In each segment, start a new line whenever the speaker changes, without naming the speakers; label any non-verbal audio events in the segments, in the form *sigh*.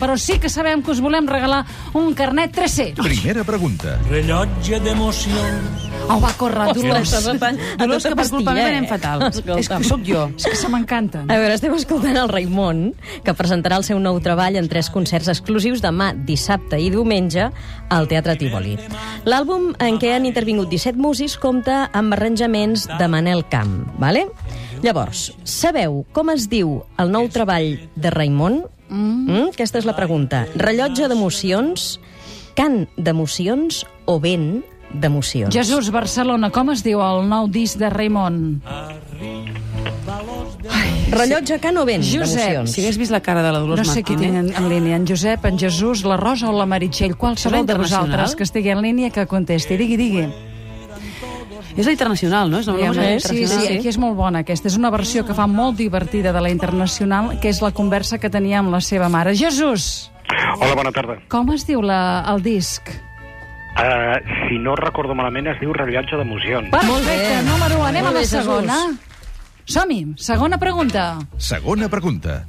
Però sí que sabem que us volem regalar un carnet 3C.
Primera pregunta.
Rellotge d'emocions.
Au, Oh, va, corre, Dolors.
Ostres, a tot- a
Dolors,
tota
que per culpa
pastilla,
meva anem
eh?
*laughs* fatal.
Escolta'm.
És que sóc jo. És que se m'encanten.
A veure, estem escoltant el Raimon, que presentarà el seu nou treball en tres concerts exclusius demà, dissabte i diumenge al Teatre Tivoli. L'àlbum en què han intervingut 17 músics compta amb arranjaments de Manel Camp, vale? Llavors, sabeu com es diu el nou treball de Raimon? Mm. Mm? Aquesta és la pregunta. Rellotge d'emocions, cant d'emocions o vent d'emocions?
Jesús, Barcelona, com es diu el nou disc de Raimon?
Rellotge, cant o vent
Josep,
d'emocions?
Si hagués vist la cara de la Dolors
Doncs No sé qui tinc
Martínez...
en, en línia, en Josep, en Jesús, la Rosa o la Meritxell. Qualsevol de
internacional?
vosaltres que estigui en línia que contesti. Digui, digui.
És la internacional, no? És una cosa
Sí, sí,
internacional.
sí, aquí és molt bona aquesta. És una versió que fa molt divertida de la internacional, que és la conversa que tenia amb la seva mare. Jesús,
Hola, bona tarda.
com es diu la, el disc?
Uh, si no recordo malament, es diu rellotge d'emocions.
Perfecte,
Molt bé.
número 1. Anem a la
Molt bé, Jesús.
segona. Som-hi, segona pregunta.
Segona pregunta.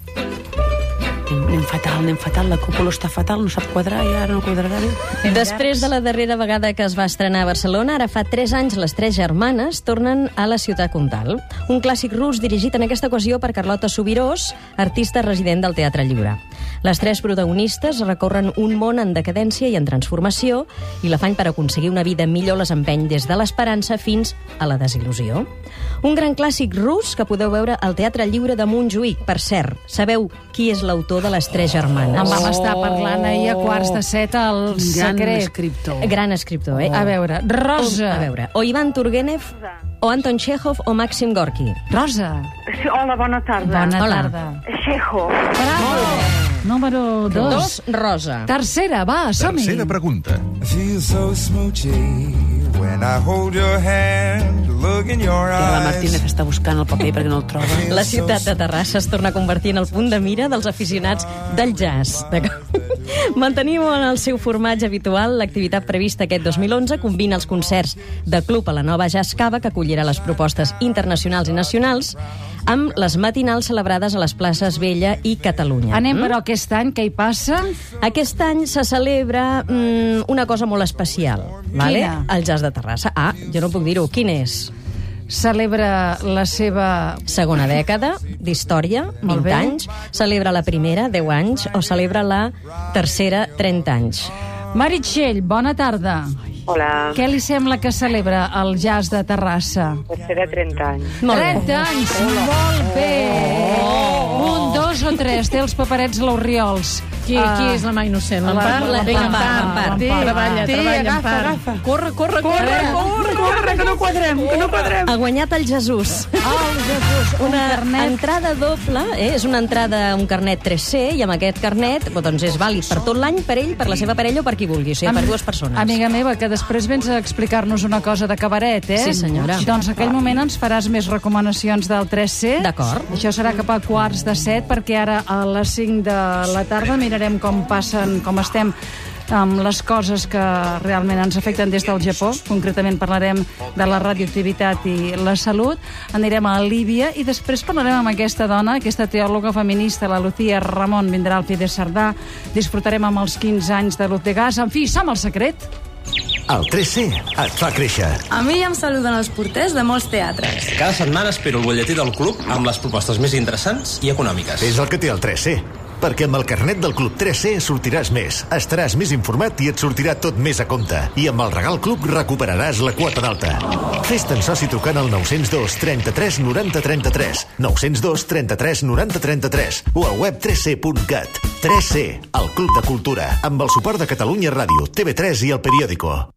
Anem, anem fatal, anem fatal, la cúpula està fatal, no sap quadrar i ara no quadrarà bé.
Després de la darrera vegada que es va estrenar a Barcelona, ara fa 3 anys les tres germanes tornen a la ciutat comtal. Un clàssic rus dirigit en aquesta ocasió per Carlota Subirós, artista resident del Teatre Lliure. Les tres protagonistes recorren un món en decadència i en transformació i l'afany per aconseguir una vida millor les empeny des de l'esperança fins a la desil·lusió. Un gran clàssic rus que podeu veure al Teatre Lliure de Montjuïc. Per cert, sabeu qui és l'autor de les tres germanes?
En vam estar parlant ahir a quarts de set al
Quin gran
secret.
escriptor.
Gran escriptor, eh?
A veure, Rosa.
A veure, o Ivan Turgenev, o Anton Chekhov, o Màxim Gorki.
Rosa,
Sí, Hola, bona tarda.
bona
Hola.
tarda.
Chekhov.
Bravo. Número 2.
Dos, Rosa.
Tercera, va, som-hi.
Tercera pregunta.
I feel so smoochy when I hold your hand, look in your
I la
eyes.
Martínez està buscant el paper perquè no el troba.
La ciutat de Terrassa es torna a convertir en el punt de mira dels aficionats del jazz. D'acord? Mantenim en el seu formatge habitual l'activitat prevista aquest 2011 combina els concerts de club a la nova Jazz Cava, que acollirà les propostes internacionals i nacionals, amb les matinals celebrades a les places Vella i Catalunya.
Anem, però, aquest any, què hi passa?
Aquest any se celebra mm, una cosa molt especial. Vale?
Quina?
El jazz de Terrassa. Ah, jo no puc dir-ho. Quin és?
Celebra la seva...
Segona dècada d'història,
Molt
20
bé.
anys. Celebra la primera, 10 anys, o celebra la tercera, 30 anys.
Meritxell, bona tarda.
Hola,
Què li sembla que celebra el jazz de Terrassa?
pues serà 30 anys.
Molt bé.
30 anys, molt bé.
Oh.
Un, dos o tres, té els paperets l'Oriols.
Qui,
Ah,
qui és la mà innocent? L'Empar?
la-
Vinga,
l'Empar,
Empar,
l'Empar.
Empar.
Té,
Treballa, treballa,
agafa,
Empar.
agafa.
Corre, corre, corre.
corre, corre, que no quadrem, que no quadrem.
Ha guanyat el Jesús.
Au, Jesús, un
Una
carnet.
entrada doble, eh? és una entrada, un carnet 3C, i amb aquest carnet eh, doncs és vàlid per tot l'any, per ell, per la seva parella o per qui vulgui, o sigui, per dues persones.
Amiga meva, que després vens a explicar-nos una cosa de cabaret, eh?
Sí, senyora.
Doncs en aquell moment ens faràs més recomanacions del 3C.
D'acord.
Això serà cap a quarts de 7, perquè ara a les 5 de la tarda mirarem com passen, com estem amb les coses que realment ens afecten des del Japó. Concretament parlarem de la radioactivitat i la salut. Anirem a Líbia i després parlarem amb aquesta dona, aquesta teòloga feminista, la Lucía Ramon, vindrà al Pi de Cerdà. Disfrutarem amb els 15 anys de Luz de Gas. En fi, som al secret.
El 3C et fa créixer.
A mi em saluden els porters de molts teatres.
Cada setmana espero el butlletí del club amb les propostes més interessants i econòmiques.
És el que té el 3C. Perquè amb el carnet del Club 3C sortiràs més, estaràs més informat i et sortirà tot més a compte. I amb el Regal Club recuperaràs la quota d'alta. Fes-te'n soci trucant al 902 33 90 33, 902 33 90 33 o a web 3C.cat. 3C, el Club de Cultura, amb el suport de Catalunya Ràdio, TV3 i El Periòdico.